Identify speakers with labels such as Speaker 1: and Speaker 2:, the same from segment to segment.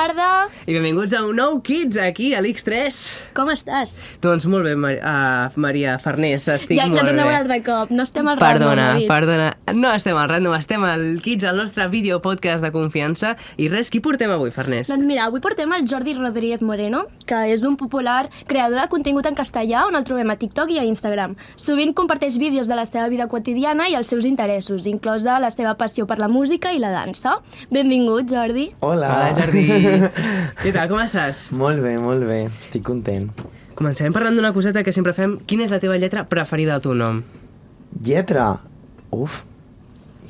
Speaker 1: I benvinguts a un nou Kids aquí a l'X3.
Speaker 2: Com estàs?
Speaker 1: Doncs molt bé, Mar uh, Maria Farners, estic
Speaker 2: ja, ja
Speaker 1: molt bé.
Speaker 2: tornem un altre cop. No estem al
Speaker 1: Perdona,
Speaker 2: random, David.
Speaker 1: perdona. No estem al random, estem al Kids, al nostre vídeo podcast de confiança. I res, qui portem avui, Farners?
Speaker 2: Doncs mira, avui portem el Jordi Rodríguez Moreno, que és un popular creador de contingut en castellà on el trobem a TikTok i a Instagram. Sovint comparteix vídeos de la seva vida quotidiana i els seus interessos, inclosa la seva passió per la música i la dansa. Benvingut, Jordi.
Speaker 3: Hola.
Speaker 1: Hola, Jordi. Què tal, com estàs?
Speaker 3: Molt bé, molt bé. Estic content.
Speaker 1: Començarem parlant d'una coseta que sempre fem. Quina és la teva lletra preferida del teu nom?
Speaker 3: Lletra. Uf.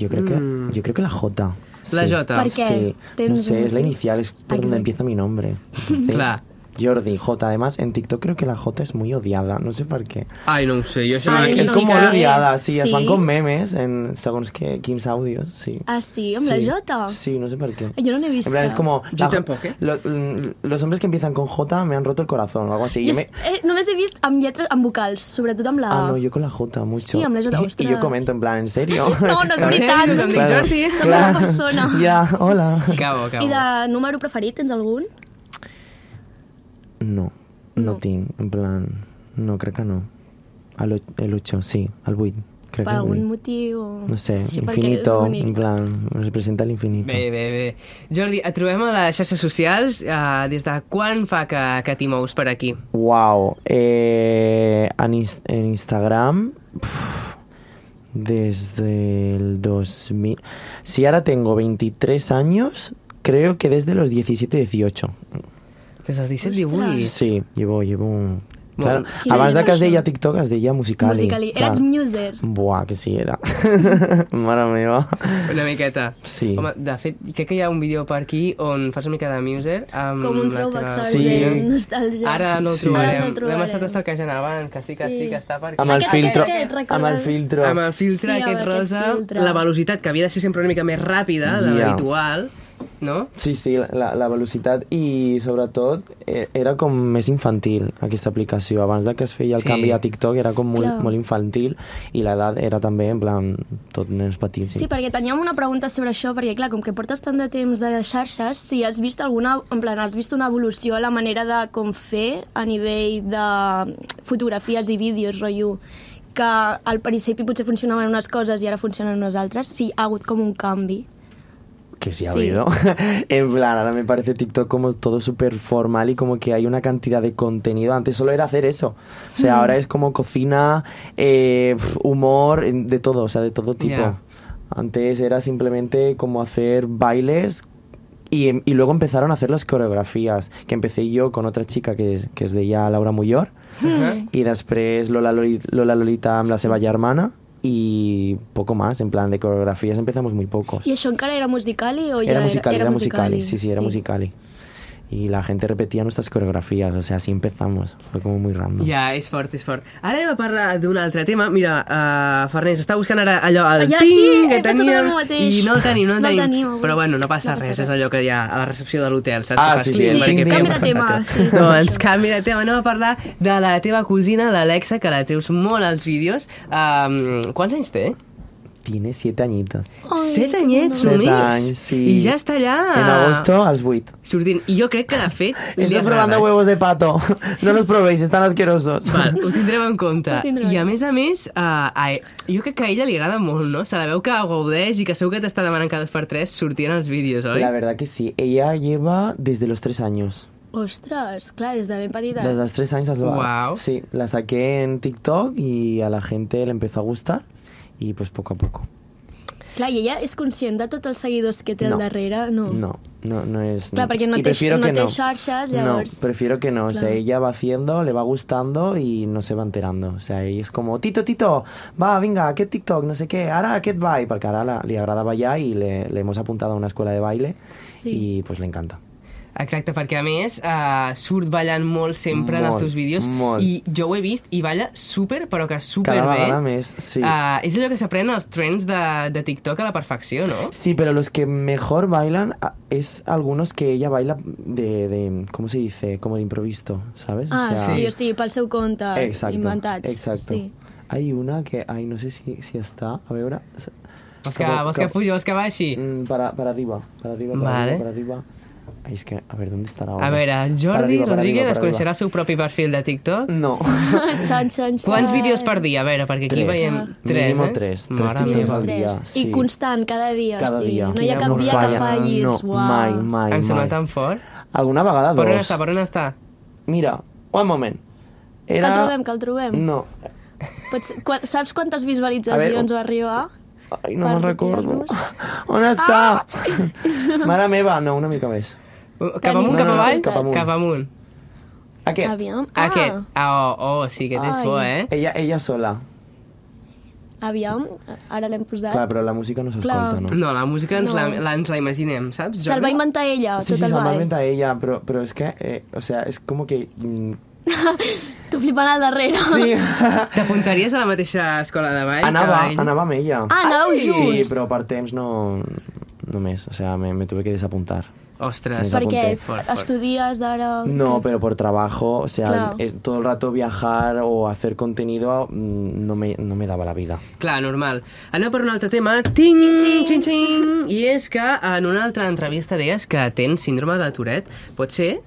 Speaker 3: Jo crec,
Speaker 1: Mm.
Speaker 3: que, yo creo que la J.
Speaker 1: La
Speaker 3: Sí.
Speaker 1: J.
Speaker 2: Per què?
Speaker 3: Sí. No
Speaker 2: Tens
Speaker 3: sé, es la
Speaker 2: un-
Speaker 3: inicial, es por
Speaker 2: Exacto.
Speaker 3: donde empieza mi nombre. Entonces,
Speaker 1: Claro.
Speaker 3: Jordi, J. Además, en TikTok creo que la J es muy odiada. No sé por qué.
Speaker 1: Ai, no ho sé, jo
Speaker 2: Sí,
Speaker 1: això...
Speaker 2: Ay,
Speaker 3: es
Speaker 2: no
Speaker 3: como
Speaker 2: sé.
Speaker 3: odiada, sí, Es
Speaker 2: Sí.
Speaker 3: van con memes en según que Kim's audios, sí.
Speaker 2: Ah, sí? Amb la J?
Speaker 3: Sí, no sé por qué.
Speaker 2: Yo no la he visto.
Speaker 3: En plan, es como...
Speaker 1: Yo
Speaker 3: la J-
Speaker 1: tampoco, ¿eh?
Speaker 3: Los, los hombres que empiezan con J me han roto el corazón o algo así.
Speaker 2: Jo
Speaker 3: Yo
Speaker 2: és,
Speaker 3: me-
Speaker 2: eh, només he vist amb lletres, amb vocals, sobretot amb la...
Speaker 3: Ah, no, yo con la J mucho.
Speaker 2: Sí, amb la J,
Speaker 3: Y yo
Speaker 2: ostres.
Speaker 3: comento en plan, ¿en serio?
Speaker 2: No, no és
Speaker 3: ¿Sabes?
Speaker 2: veritat, no
Speaker 1: Em
Speaker 2: és
Speaker 1: dic
Speaker 2: veritat.
Speaker 1: Jordi.
Speaker 2: Som una persona.
Speaker 3: Ya, hola.
Speaker 1: Cabo, cabo.
Speaker 2: I de número preferit, tens algun?
Speaker 3: No, no, tinc, en plan, no, creo que no. Al o- el 8, sí, al 8,
Speaker 2: Per
Speaker 3: creo que el
Speaker 2: algun
Speaker 3: vuit.
Speaker 2: motiu...
Speaker 3: No sé,
Speaker 2: Sí, perquè és
Speaker 3: infinito,
Speaker 2: bonic.
Speaker 3: en plan, representa el infinito.
Speaker 1: Bé, bé, bé. Jordi, et trobem a les xarxes socials. Uh, des de quan fa que, que t'hi mous per aquí?
Speaker 3: Wow, eh, en, ins- en Instagram pf, desde el 2000. Si ahora tengo 23 años, creo que desde los 17, 18.
Speaker 1: Des dels 17,
Speaker 2: Ostres.
Speaker 1: 18.
Speaker 3: Sí, llevo, llevo. Claro,
Speaker 2: Quina
Speaker 3: abans de que es
Speaker 2: generació.
Speaker 3: deia TikTok, es deia Musicali.
Speaker 2: Musical.ly.
Speaker 3: clar.
Speaker 2: Eres muser.
Speaker 3: Buah, que sí era. Mare meva.
Speaker 1: Una miqueta.
Speaker 3: Sí.
Speaker 1: Home, de fet, crec que hi ha un vídeo per aquí on fas una mica de muser amb
Speaker 2: Com un
Speaker 1: la
Speaker 2: throwback
Speaker 1: teva-
Speaker 3: Sí.
Speaker 2: sí. nostàlgia.
Speaker 1: Mm, Ara no el
Speaker 3: Sí.
Speaker 1: trobarem.
Speaker 2: Ara no el
Speaker 1: L'hem
Speaker 2: trobarem.
Speaker 1: estat estalquejant abans, que sí, que sí,
Speaker 2: Sí.
Speaker 1: que està per aquí.
Speaker 3: Amb el
Speaker 2: Aquest-
Speaker 3: filtro.
Speaker 2: aquest, recorda-
Speaker 3: Amb el filtro.
Speaker 1: Amb el filtre
Speaker 2: Sí, amb
Speaker 1: aquest
Speaker 2: aquest
Speaker 1: rosa,
Speaker 2: filtre.
Speaker 1: la velocitat, que havia de ser sempre una mica més ràpida de
Speaker 3: Ja.
Speaker 1: l'habitual, no?
Speaker 3: Sí, sí, la, la velocitat i sobretot eh, era com més infantil aquesta aplicació. Abans de que es feia el
Speaker 1: Sí.
Speaker 3: sí. canvi a TikTok era com molt,
Speaker 2: Clar.
Speaker 3: molt infantil i l'edat era també en plan tot nens petits.
Speaker 2: Sí, perquè teníem una pregunta sobre això, perquè clar, com que portes tant de temps de xarxes, si has vist alguna, en plan, has vist una evolució a la manera de com fer a nivell de fotografies i vídeos, rotllo, que al principi potser funcionaven unes coses i ara funcionen unes altres, si ha hagut com un canvi.
Speaker 3: Que sí ha
Speaker 2: Sí.
Speaker 3: habido. en plan, ahora me parece TikTok como todo súper formal y como que hay una cantidad de contenido. Antes solo era hacer eso. O sea, ahora es como cocina, eh, pf, humor, eh, de todo, o sea, de todo tipo.
Speaker 1: Ya.
Speaker 3: Antes era simplemente como hacer bailes y, em- y luego empezaron a hacer las coreografías, que empecé yo con otra chica que es, que es de ella, Laura Muyor,
Speaker 2: Hmm.
Speaker 1: Mhm.
Speaker 3: y después Lola, Loli- Lola Lolita amb la seva germana y poco más, en plan de coreografías empezamos muy pocos
Speaker 2: I això encara era musicali o ja
Speaker 3: era musical, era, musical,
Speaker 2: musicali?
Speaker 3: sí, sí, era musical. Y la gente repetía nuestras coreografías, o sea, así empezamos. Fue como muy random.
Speaker 1: Ja, és fort, és fort. Ara anem a parlar d'un altre tema. Mira, uh, Farners, està buscant ara allò, el
Speaker 2: Ah, Ja,
Speaker 1: ting
Speaker 2: sí,
Speaker 1: que
Speaker 2: he pensat en
Speaker 1: teníem,
Speaker 2: el mateix.
Speaker 1: i no el tenim, no el
Speaker 2: No el
Speaker 1: tenim.
Speaker 2: tenim avui.
Speaker 1: Però bueno, no passa
Speaker 2: No passa
Speaker 1: res,
Speaker 2: res.
Speaker 1: és allò que hi ha a la recepció de l'hotel, saps?
Speaker 3: Ah,
Speaker 1: Que fas
Speaker 3: sí,
Speaker 1: clic
Speaker 3: sí, el
Speaker 1: perquè
Speaker 3: ting-ting.
Speaker 1: fem
Speaker 3: Canvi de
Speaker 1: passar
Speaker 2: tema,
Speaker 1: el
Speaker 2: sí, sí,
Speaker 1: Doncs
Speaker 2: això.
Speaker 1: canvi de tema, anem a parlar de la teva cosina, l'Alexa, que la treus molt als vídeos. Um, quants anys té?
Speaker 3: Tiene siete añitos.
Speaker 2: Ai,
Speaker 1: Set
Speaker 2: que
Speaker 1: anyets
Speaker 3: mono.
Speaker 1: només.
Speaker 3: Set anys, sí.
Speaker 1: I ja està allà.
Speaker 3: En agosto, al Sweet.
Speaker 1: Sortint. I jo crec que, de fet, li
Speaker 3: Estoy
Speaker 1: agrada.
Speaker 3: probando huevos de pato. No los probéis, están asquerosos.
Speaker 1: Val, ho tindrem en compte.
Speaker 2: Ho tindrem.
Speaker 1: I a més a més, uh, a, jo crec que a ella li agrada molt, no? Se la veu que gaudeix i que segur que t'està demanant cada dos per tres sortint els vídeos, oi?
Speaker 3: La verdad que sí. Ella lleva desde los tres años.
Speaker 2: Ostres, clar, des de ben petita.
Speaker 3: Desde los tres años las va.
Speaker 1: Guau.
Speaker 3: Sí, la saqué en TikTok y a la gente le empezó a gustar. Y pues poco a poco.
Speaker 2: Clar, i ella és conscient de tots els seguidors que té
Speaker 3: No.
Speaker 2: al darrere? No.
Speaker 3: No, no, no es...
Speaker 2: Claro, porque no
Speaker 3: y
Speaker 2: te-
Speaker 3: prefiero
Speaker 2: no
Speaker 3: que
Speaker 2: te charchas, ya
Speaker 3: No,
Speaker 2: ves.
Speaker 3: prefiero que no. O sea,
Speaker 2: Claro.
Speaker 3: ella va haciendo, le va gustando y no se va enterando. O sea, ella es como, Tito, Tito, va, venga, ¿qué TikTok? No sé qué, ahora, ¿qué va? Porque ahora la- le agradaba ya y le, le hemos apuntado a una escuela de baile
Speaker 2: Sí.
Speaker 3: y pues le encanta.
Speaker 1: Exacte, perquè a més uh, surt ballant molt sempre en els
Speaker 3: Molt,
Speaker 1: teus vídeos
Speaker 3: molt.
Speaker 1: i jo ho he vist i balla super, però que super
Speaker 3: Cada
Speaker 1: bé.
Speaker 3: vegada més, sí.
Speaker 1: Uh, és allò que s'aprèn els trends de, de TikTok a la perfecció, no?
Speaker 3: Sí, pero los que mejor bailan ah, es algunos que ella baila de, de ¿cómo se dice? Como de improviso, ¿sabes? O
Speaker 2: Ah,
Speaker 3: sea,
Speaker 2: sí, o sigui, pel seu compte,
Speaker 3: Exacto.
Speaker 2: inventats.
Speaker 3: Exacto.
Speaker 2: Sí.
Speaker 3: Hay una que, ay, no sé si, si está, a ver ahora.
Speaker 1: Vols que, vols que pugi, vols que baixi?
Speaker 3: Mm, para, para arriba, para arriba, para
Speaker 1: Vale.
Speaker 3: arriba, para arriba. Ay, es que, a ver, ¿dónde estará ahora?
Speaker 1: A veure,
Speaker 3: Para
Speaker 1: Jordi
Speaker 3: arriba, para
Speaker 1: Rodríguez
Speaker 3: arriba, para
Speaker 1: desconeixerà el seu propi perfil de TikTok.
Speaker 3: arriba. No.
Speaker 2: Xan, xan, xan.
Speaker 1: Quants vídeos per dia? A veure, perquè aquí
Speaker 3: Mm. Tres.
Speaker 1: veiem... Tres,
Speaker 3: Mínimo
Speaker 1: eh?
Speaker 3: tres. Tres
Speaker 1: Mare
Speaker 3: TikToks
Speaker 1: meva.
Speaker 3: al
Speaker 2: Mínim
Speaker 3: dia,
Speaker 2: tres.
Speaker 3: sí.
Speaker 2: I constant, cada dia.
Speaker 3: Cada
Speaker 2: hosti.
Speaker 3: dia.
Speaker 2: No hi ha cap
Speaker 1: No
Speaker 2: dia
Speaker 1: falla,
Speaker 2: que fallis.
Speaker 3: No,
Speaker 2: uau.
Speaker 3: mai, mai,
Speaker 1: Em sembla
Speaker 3: mai.
Speaker 1: tan fort.
Speaker 3: Alguna vegada
Speaker 1: Per on
Speaker 3: dos.
Speaker 1: està? Per on està?
Speaker 3: Mira, un moment.
Speaker 2: Que
Speaker 3: Era...
Speaker 2: el trobem, que el trobem.
Speaker 3: No.
Speaker 2: Pots, qua, saps quantes visualitzacions
Speaker 3: A veure,
Speaker 2: va arribar?
Speaker 3: Ai, no
Speaker 2: Per
Speaker 3: me'n recordo.
Speaker 2: copiar-nos.
Speaker 3: On està?
Speaker 2: Ah.
Speaker 3: Mare meva, no, una mica més.
Speaker 1: Uh, Cap amunt,
Speaker 2: Tenim
Speaker 1: cap avall?
Speaker 3: Cap amunt.
Speaker 1: Cap amunt.
Speaker 3: Aquest.
Speaker 2: Aviam. Ah,
Speaker 1: Aquest. Ah, oh, oh, sí que tens
Speaker 2: Ai.
Speaker 1: por, eh?
Speaker 3: Ella, ella sola.
Speaker 2: Aviam, ara l'hem posat.
Speaker 3: Clar, però la música no
Speaker 2: Clar.
Speaker 3: s'escolta, no?
Speaker 1: No, la música ens,
Speaker 2: No.
Speaker 1: la, la, ens la imaginem, saps, Jordi?
Speaker 2: Se'l va inventar ella,
Speaker 3: Sí,
Speaker 2: tot
Speaker 3: sí,
Speaker 2: el ball.
Speaker 3: normalmente a ella, pero, pero es que, eh, o sea, es como que... mm,
Speaker 2: Tu flipant al darrere.
Speaker 3: sí,
Speaker 1: T'apuntaries a la mateixa escola de ball? que
Speaker 3: anava,
Speaker 1: ell?
Speaker 3: anava amb ella.
Speaker 2: Ah, anàveu
Speaker 3: sí? Sí,
Speaker 2: junts.
Speaker 3: però per temps no... Només, o sea, me, me tuve que desapuntar.
Speaker 1: Ostres.
Speaker 3: Per
Speaker 2: Perquè
Speaker 3: Desapunté.
Speaker 1: eh? Fort, fort.
Speaker 2: estudies d'ara...
Speaker 3: No, pero por trabajo, o sea,
Speaker 2: Claro.
Speaker 3: es, todo el rato viajar o hacer contenido mm, no me, no me daba la vida.
Speaker 1: Clar, normal. Anem per un altre tema. Ting,
Speaker 2: Xing,
Speaker 1: xing, xing. I és que en una altra entrevista deies que tens síndrome de Tourette. Pot ser?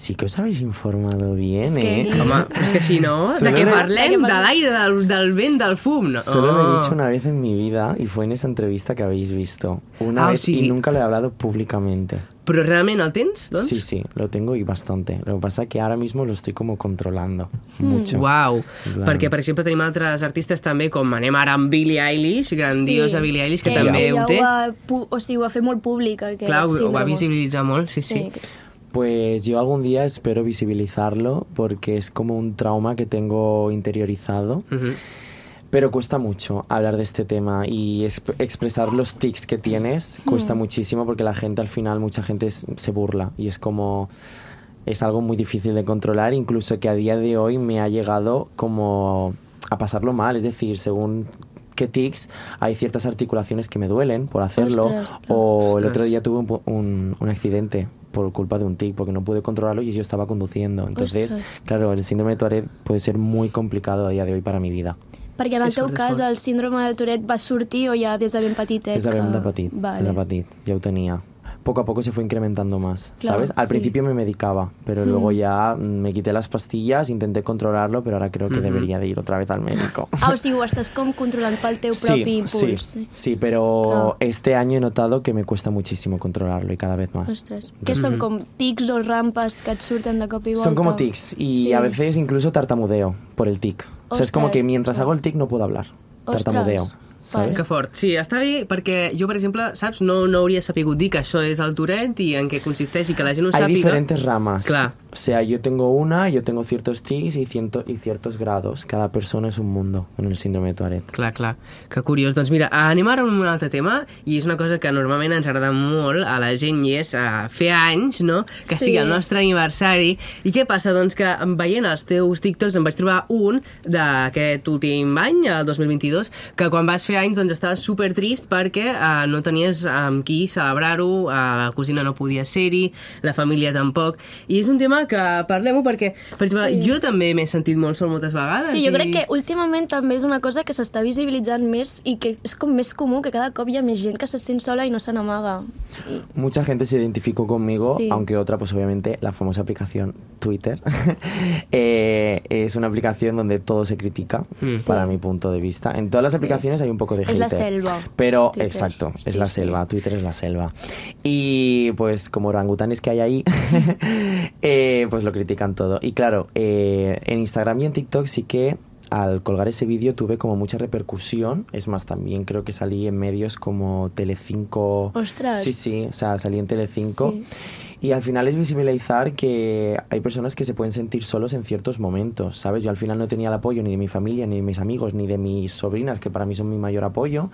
Speaker 3: Sí que os habéis informado bien,
Speaker 2: que-
Speaker 3: ¿eh?
Speaker 1: Home, però és que si no, de
Speaker 3: Solo
Speaker 1: què
Speaker 3: me-
Speaker 1: parlem? De l'aire, del, del vent, del fum? No?
Speaker 3: Solo lo he
Speaker 1: Oh.
Speaker 3: dicho una vez en mi vida y fue en esa entrevista que habéis visto. Una
Speaker 1: Ah, o
Speaker 3: vez
Speaker 1: sigui-
Speaker 3: y nunca le he hablado públicamente.
Speaker 1: Però realment el tens, doncs?
Speaker 3: Sí, sí, lo tengo y bastante. Lo que pasa es que ahora mismo lo estoy como controlando mucho.
Speaker 1: Uau,
Speaker 3: Clar.
Speaker 1: perquè per exemple tenim altres artistes també com anem ara amb Billie Eilish, grandiosa Billie Eilish, que també
Speaker 2: ella
Speaker 1: ho té.
Speaker 2: Ho ha, pu- o sigui, ho ha fet molt públic, aquest
Speaker 1: Clar, ho, ho
Speaker 2: síndrome.
Speaker 1: va visibilitzar molt, sí, sí.
Speaker 2: que-
Speaker 3: Pues yo algún día espero visibilizarlo porque es como un trauma que tengo interiorizado.
Speaker 1: Mhm.
Speaker 3: Pero cuesta mucho hablar de este tema y exp- expresar los tics que tienes
Speaker 2: Hmm.
Speaker 3: cuesta muchísimo porque la gente al final, mucha gente s- se burla y es como... Es algo muy difícil de controlar, incluso que a día de hoy me ha llegado como a pasarlo mal, es decir, según qué tics hay ciertas articulaciones que me duelen por hacerlo
Speaker 2: Ostras, claro.
Speaker 3: o el otro
Speaker 1: Ostras.
Speaker 3: día tuve un, po- un- un accidente por culpa de un tic porque no pude controlarlo y yo estaba conduciendo. Entonces,
Speaker 2: Ostras.
Speaker 3: claro, el síndrome de Tourette puede ser muy complicado a día de hoy para mi vida.
Speaker 2: Perquè en el
Speaker 1: És
Speaker 2: teu
Speaker 1: fort, és
Speaker 2: cas
Speaker 1: fort.
Speaker 2: el síndrome de Tourette va sortir o ja des de ben petitet?
Speaker 3: Es de
Speaker 2: que-
Speaker 3: de petit,
Speaker 2: Vale.
Speaker 3: de petit, ya lo tenía. Poco a poco se fue incrementando más,
Speaker 2: Claro,
Speaker 3: ¿sabes? Al
Speaker 2: sí.
Speaker 3: principio me medicaba, pero luego ya mm, me quité las pastillas, intenté controlarlo, pero ahora creo que debería de ir otra vez al médico.
Speaker 2: Ah, o sigui, ho estàs com controlant pel teu propi
Speaker 3: sí,
Speaker 2: impuls.
Speaker 3: sí, sí, pero este año he notado que me cuesta muchísimo controlarlo y cada vez más.
Speaker 2: Ostres. Què
Speaker 1: Mm-hmm.
Speaker 2: són, com tics o rampes que et surten de cop i volta?
Speaker 3: Son como tics y
Speaker 2: Sí.
Speaker 3: a veces incluso tartamudeo por el tic. O sea, es como
Speaker 2: Ostras.
Speaker 3: que mientras hago el tic no puedo hablar.
Speaker 2: Ostras.
Speaker 3: Tartamudeo, ¿sabes?
Speaker 1: Que fort. Sí, està bé perquè jo, per exemple, saps, no, no hauria sapigut dir que això és el Tourette i en què consisteix i que la gent ho
Speaker 3: Hay
Speaker 1: sàpiga.
Speaker 3: diferentes ramas.
Speaker 1: Claro.
Speaker 3: O sea, yo tengo una, yo tengo ciertos tics y, ciento- y ciertos grados. Cada persona es un mundo en el síndrome de Tourette.
Speaker 1: Clar, clar. Que curiós. Doncs mira, anem ara amb un altre tema i és una cosa que normalment ens agrada molt a la gent i és uh, fer anys, no? Que
Speaker 2: Sí.
Speaker 1: sí. sigui el nostre aniversari. I què passa? Doncs que veient els teus TikToks em vaig trobar un d'aquest últim any, el 2022, que quan vas fer anys doncs estaves super trist perquè uh, no tenies amb qui celebrar-ho, uh, la cosina no podia ser-hi, la família tampoc. I és un tema que parlem-ho perquè, per exemple, sí. jo també m'he sentit molt sol moltes vegades.
Speaker 2: Sí, jo
Speaker 1: i...
Speaker 2: crec que últimament també és una cosa que s'està visibilitzant més i que és com més comú que cada cop hi ha més gent que se sent sola i no se n'amaga. I-
Speaker 3: Mucha gente se identificó conmigo,
Speaker 2: Sí.
Speaker 3: aunque otra, pues obviamente, la famosa aplicación Twitter. Eh, es una aplicación donde todo se critica,
Speaker 1: Mm.
Speaker 3: para
Speaker 2: Sí.
Speaker 3: mi punto de vista. En todas las aplicaciones hay un poco de
Speaker 2: Es la
Speaker 3: hater,
Speaker 2: selva,
Speaker 3: Pero,
Speaker 2: Twitter.
Speaker 3: exacto, es
Speaker 2: Sí,
Speaker 3: la
Speaker 2: sí.
Speaker 3: selva. Twitter es la selva. Y pues como orangutanes que hay ahí, eh, pues lo critican todo. Y claro, eh, en Instagram y en TikTok sí que al colgar ese vídeo tuve como mucha repercusión. Es más, también creo que salí en medios como Telecinco.
Speaker 2: Ostras.
Speaker 3: Sí, sí, o sea, salí en Telecinco.
Speaker 2: Sí.
Speaker 3: Y al final es visibilizar que hay personas que se pueden sentir solos en ciertos momentos, ¿sabes? Yo al final no tenía el apoyo ni de mi familia, ni de mis amigos, ni de mis sobrinas, que para mí son mi mayor apoyo.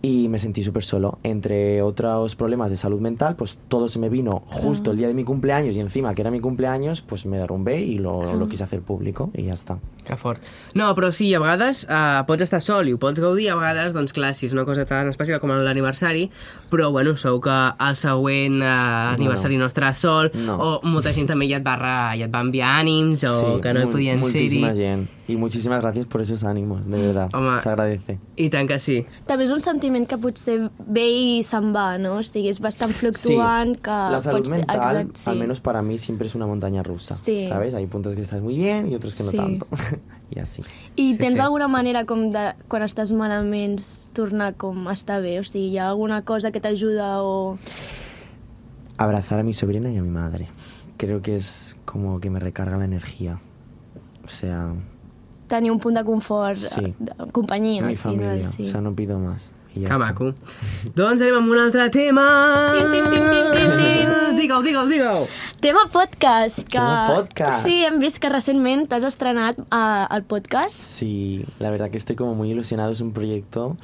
Speaker 3: Y me sentí súper solo. Entre otros problemas de salud mental, pues todo se me vino justo el día de mi cumpleaños y encima que era mi cumpleaños, pues me derrumbé y lo, lo quise hacer público y ya está.
Speaker 1: Que fort. No, però sí, a vegades uh, pots estar sol i ho pots gaudir, a vegades, doncs clar, si és una cosa tan especial com l'aniversari, però bueno, sou que el següent uh, aniversari no,
Speaker 3: No.
Speaker 1: estarà sol,
Speaker 3: No.
Speaker 1: o molta gent també ja et va, ra, ja et va enviar ànims, o
Speaker 3: Sí,
Speaker 1: que no hi
Speaker 3: mol-
Speaker 1: podien ser-hi.
Speaker 3: moltíssima gent. Y muchísimas gracias por esos ánimos, de verdad.
Speaker 1: Home.
Speaker 3: Se agradece.
Speaker 1: I tant que sí.
Speaker 2: També és un sentiment que potser ve i se'n va, no? O sigui, és bastant fluctuant. Que
Speaker 3: la salud
Speaker 2: pots-
Speaker 3: mental,
Speaker 2: Exacte, sí.
Speaker 3: al menos para mí, siempre es una montaña rusa.
Speaker 2: Sí.
Speaker 3: ¿Sabes? Hay puntos que estás muy bien y otros que no
Speaker 2: Sí.
Speaker 3: tanto. y así.
Speaker 2: I
Speaker 1: Sí,
Speaker 2: sí, tens
Speaker 1: sí.
Speaker 2: sí. alguna manera com de, quan estàs malament, s- tornar com a estar bé? O sigui, hi ha alguna cosa que t'ajuda o...
Speaker 3: Abrazar a mi sobrina y a mi madre. Creo que es como que me recarga la energía. O sea,
Speaker 2: tenir un punt de confort,
Speaker 3: Sí.
Speaker 2: de companyia.
Speaker 3: mi
Speaker 2: al final,
Speaker 3: familia.
Speaker 2: sí.
Speaker 3: O sea, no pido más. Y ya
Speaker 1: Que
Speaker 3: está.
Speaker 1: maco. doncs anem amb un altre tema. Digue-ho, digue-ho, digue-ho.
Speaker 2: Tema podcast. Que...
Speaker 3: Tema podcast.
Speaker 2: Sí, hem vist que recentment t'has estrenat eh, el podcast.
Speaker 3: Sí, la verdad que estoy como muy ilusionado. Es un proyecto,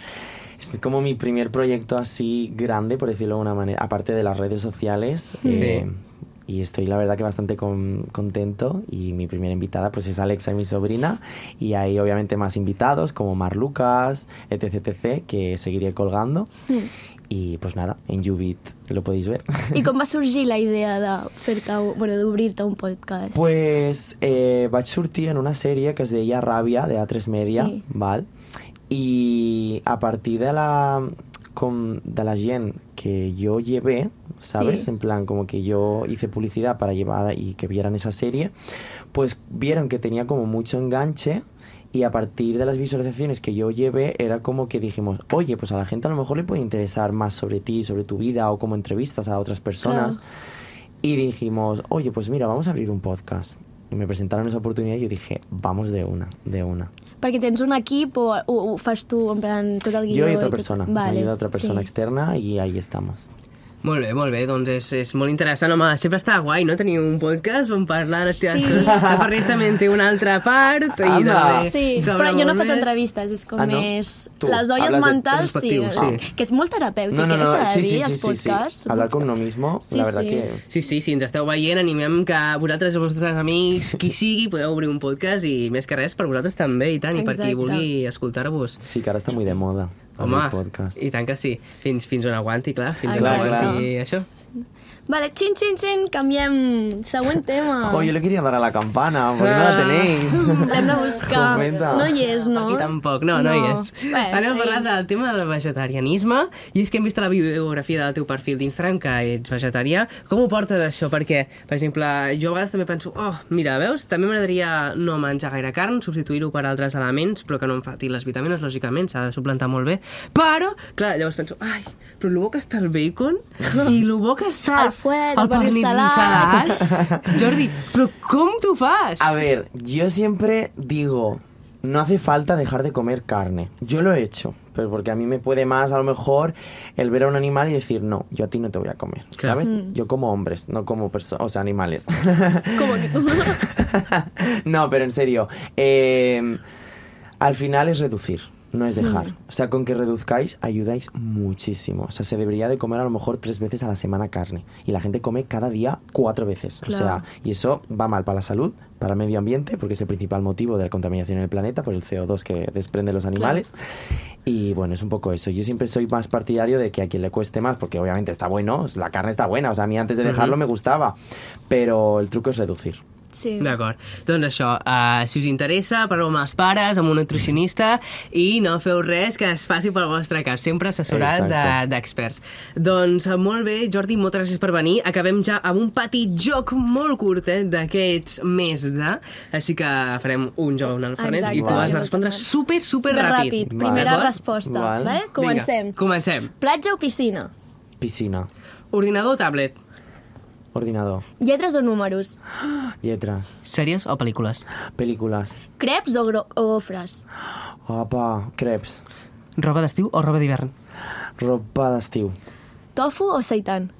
Speaker 3: es como mi primer proyecto así grande, por decirlo de una manera, aparte de las redes sociales. eh,
Speaker 1: Sí.
Speaker 3: y estoy la verdad que bastante con- contento. Y mi primera invitada pues es Alexa, mi sobrina. Y hay obviamente más invitados como Mar Lucas, etc, etc, que seguiré colgando. Y pues nada, en Ubit lo podéis ver.
Speaker 2: I com va sorgir la idea de fer-te, un- bueno, d'obrir-te un podcast?
Speaker 3: Pues eh, vaig sortir en una sèrie que es deia Ràbia, de A3 Media,
Speaker 2: Sí.
Speaker 3: val? i a partir de la, com, de la gent que yo llevé, ¿sabes?
Speaker 2: Sí.
Speaker 3: En plan, como que yo hice publicidad para llevar y que vieran esa serie, pues vieron que tenía como mucho enganche y a partir de las visualizaciones que yo llevé era como que dijimos, oye, pues a la gente a lo mejor le puede interesar más sobre ti, sobre tu vida o como entrevistas a otras personas.
Speaker 2: Claro.
Speaker 3: Y dijimos, oye, pues mira, vamos a abrir un podcast. Y me presentaron esa oportunidad y yo dije, vamos de una, de una.
Speaker 2: Perquè tens un equip o ho, ho fas tu, en plan, tot el guió?
Speaker 3: Yo y
Speaker 2: i
Speaker 3: otra
Speaker 2: tot-
Speaker 3: persona, me
Speaker 2: Vale,
Speaker 3: ayuda otra persona
Speaker 2: sí.
Speaker 3: externa y ahí estamos.
Speaker 1: Molt bé, molt bé, doncs és, és molt interessant, home, sempre està guai, no?, tenir un podcast on parlar de les teves
Speaker 2: Sí.
Speaker 1: coses. La Farners també en té una altra part. I
Speaker 3: Home.
Speaker 1: també
Speaker 2: Sí,
Speaker 1: Ah. s'obre
Speaker 2: però jo no
Speaker 1: molt
Speaker 2: faig
Speaker 1: més.
Speaker 2: entrevistes, és com
Speaker 3: Ah, no?
Speaker 2: més...
Speaker 3: Tu,
Speaker 2: les olles
Speaker 3: hablas de-
Speaker 2: mentals,
Speaker 1: és
Speaker 2: sí,
Speaker 1: efectiu, sí.
Speaker 2: Que és molt terapèutic,
Speaker 3: No, no,
Speaker 2: eh,
Speaker 3: no,
Speaker 2: s'ha de
Speaker 3: sí,
Speaker 2: dir,
Speaker 3: sí, sí,
Speaker 2: els
Speaker 3: sí, sí.
Speaker 2: podcasts.
Speaker 3: Hablar con uno mismo,
Speaker 2: Sí,
Speaker 3: la verdad
Speaker 2: sí.
Speaker 3: que...
Speaker 1: Sí, sí, si ens esteu veient, animem que vosaltres, els vostres amics, qui sigui, podeu obrir un podcast i més que res per vosaltres també, i tant, i per qui
Speaker 2: Exacte.
Speaker 1: vulgui escoltar-vos.
Speaker 3: Sí, que ahora está muy de moda.
Speaker 1: Home,
Speaker 3: abrir podcast.
Speaker 1: i tant que sí. Fins, fins on aguanti, clar, fins
Speaker 2: Clar,
Speaker 1: on aguanti
Speaker 2: clar.
Speaker 1: això.
Speaker 2: Vale, xin, xin, xin, canviem. Següent tema.
Speaker 3: Oh, yo le quería dar a la campana, porque no
Speaker 1: Ah.
Speaker 3: la tenéis.
Speaker 2: L'hem de buscar.
Speaker 3: Comenta.
Speaker 2: No hi és, no?
Speaker 1: Aquí tampoc, no, no, hi és.
Speaker 2: Bé,
Speaker 1: Anem a
Speaker 2: sí.
Speaker 1: parlar del tema del vegetarianisme i és que hem vist a la biografia del teu perfil d'Instagram que ets vegetarià. Com ho portes això? Perquè, per exemple, jo a vegades també penso oh, mira, veus, també m'agradaria no menjar gaire carn, substituir-ho per altres elements, però que no em faltin les vitamines, lògicament, s'ha de suplantar molt bé. Però, clar, llavors penso, ai, però el bo que està el bacon i el bo que està
Speaker 2: El fuet, el pernil
Speaker 1: salat. Jordi, però com t'ho fas?
Speaker 3: A ver, yo siempre digo, no hace falta dejar de comer carne. Yo lo he hecho, pero porque a mí me puede más a lo mejor el ver a un animal y decir, no, yo a ti no te voy a comer,
Speaker 1: Claro. Mm.
Speaker 3: ¿sabes? Yo como hombres, no como personas, o sea, animales.
Speaker 2: Com que...
Speaker 3: no, pero en serio, eh, al final es reducir. No es dejar. O sea, con que reduzcáis ayudáis muchísimo. O sea, se debería de comer a lo mejor tres veces a la semana carne. Y la gente come cada día cuatro veces. O
Speaker 2: Claro.
Speaker 3: sea, y eso va mal para la salud, para el medio ambiente, porque es el principal motivo de la contaminación en el planeta, por el CO2 que desprenden los animales. Y bueno, es un poco eso. Yo siempre soy más partidario de que a quien le cueste más, porque obviamente está bueno, la carne está buena. O sea, a mí antes de dejarlo me gustaba. Però el truco és reducir.
Speaker 2: Sí.
Speaker 1: D'acord. Doncs això, uh, si us interessa, parleu amb els pares, amb un nutricionista i no feu res que es faci pel vostre cas. Sempre assessorat de-
Speaker 3: Exacte.
Speaker 1: d'experts. Doncs eh, molt bé, Jordi, moltes gràcies per venir. Acabem ja amb un petit joc molt curtet d'aquests més de... Així que farem un joc en el Farners i tu
Speaker 2: Exacte.
Speaker 1: has de respondre super, super ràpid.
Speaker 2: Superràpid. Primera
Speaker 1: D'acord?
Speaker 2: resposta.
Speaker 3: Val.
Speaker 2: Vale? Comencem.
Speaker 1: Vinga, comencem.
Speaker 2: Platja o piscina?
Speaker 3: Piscina,
Speaker 1: Ordinador o tablet?
Speaker 3: ordinador,
Speaker 2: Lletres o números?
Speaker 3: lletra,
Speaker 1: Sèries o pel·lícules?
Speaker 3: pel·lícules,
Speaker 2: Creps o, gro- o gofres?
Speaker 3: apa, crepes,
Speaker 1: Roba d'estiu o roba d'hivern?
Speaker 3: ropa d'estiu.
Speaker 2: Tofu o seitan?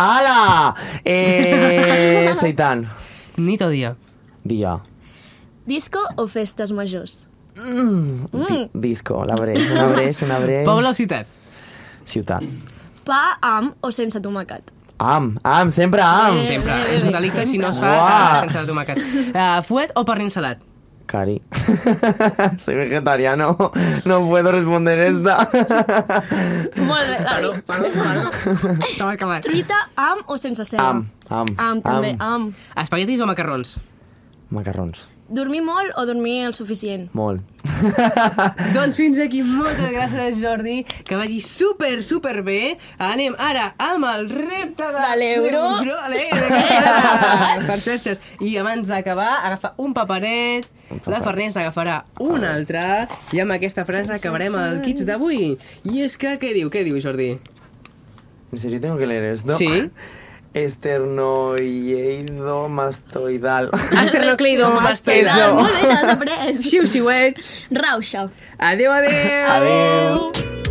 Speaker 3: Ala! Eh, seitan.
Speaker 1: Nit o dia?
Speaker 3: Dia.
Speaker 2: Disco o festes majors?
Speaker 3: Mm, di- disco, la breix, una breix, una breix.
Speaker 1: Poble o ciutat?
Speaker 3: Ciutat.
Speaker 2: Pa amb o sense tomàquet?
Speaker 3: Am, am, sempre am.
Speaker 2: Eh.
Speaker 1: Sempre.
Speaker 2: bé,
Speaker 1: és un
Speaker 2: bé.
Speaker 1: delicte si no es
Speaker 3: Uah.
Speaker 1: fa sense la tomàquet. Uh, fuet o pernil salat?
Speaker 3: Cari. Soy vegetariano. No puedo responder esta.
Speaker 2: Molt bé. Claro,
Speaker 1: Perdó, perdó. Estava acabat.
Speaker 2: Truita amb o sense ceba?
Speaker 3: am, am.
Speaker 2: Am, també, am.
Speaker 1: Espaguetis o macarrons?
Speaker 3: Macarrons.
Speaker 2: dormir molt o dormir el suficient.
Speaker 3: Molt.
Speaker 1: doncs fins aquí, moltes gràcies Jordi, que vagi super, super bé. Anem ara amb el repte de...
Speaker 2: De l'euro.
Speaker 1: de l'euro, l'euro, que serà Per xarxes. I abans d'acabar, agafa un paperet,
Speaker 3: Un paperet.
Speaker 1: la Farners agafarà un altre, i amb aquesta frase acabarem el kits d'avui. I és que, què diu, què diu Jordi?
Speaker 3: ¿En serio tengo que leer esto?
Speaker 1: Sí.
Speaker 3: Esternoieidomastoidal.
Speaker 1: Ah, Esternocleidomastoidal.
Speaker 2: Molt bé, te l'has après.
Speaker 1: Xiu, xiuets.
Speaker 2: Rauxa.
Speaker 1: Adéu, adéu.
Speaker 3: Adéu.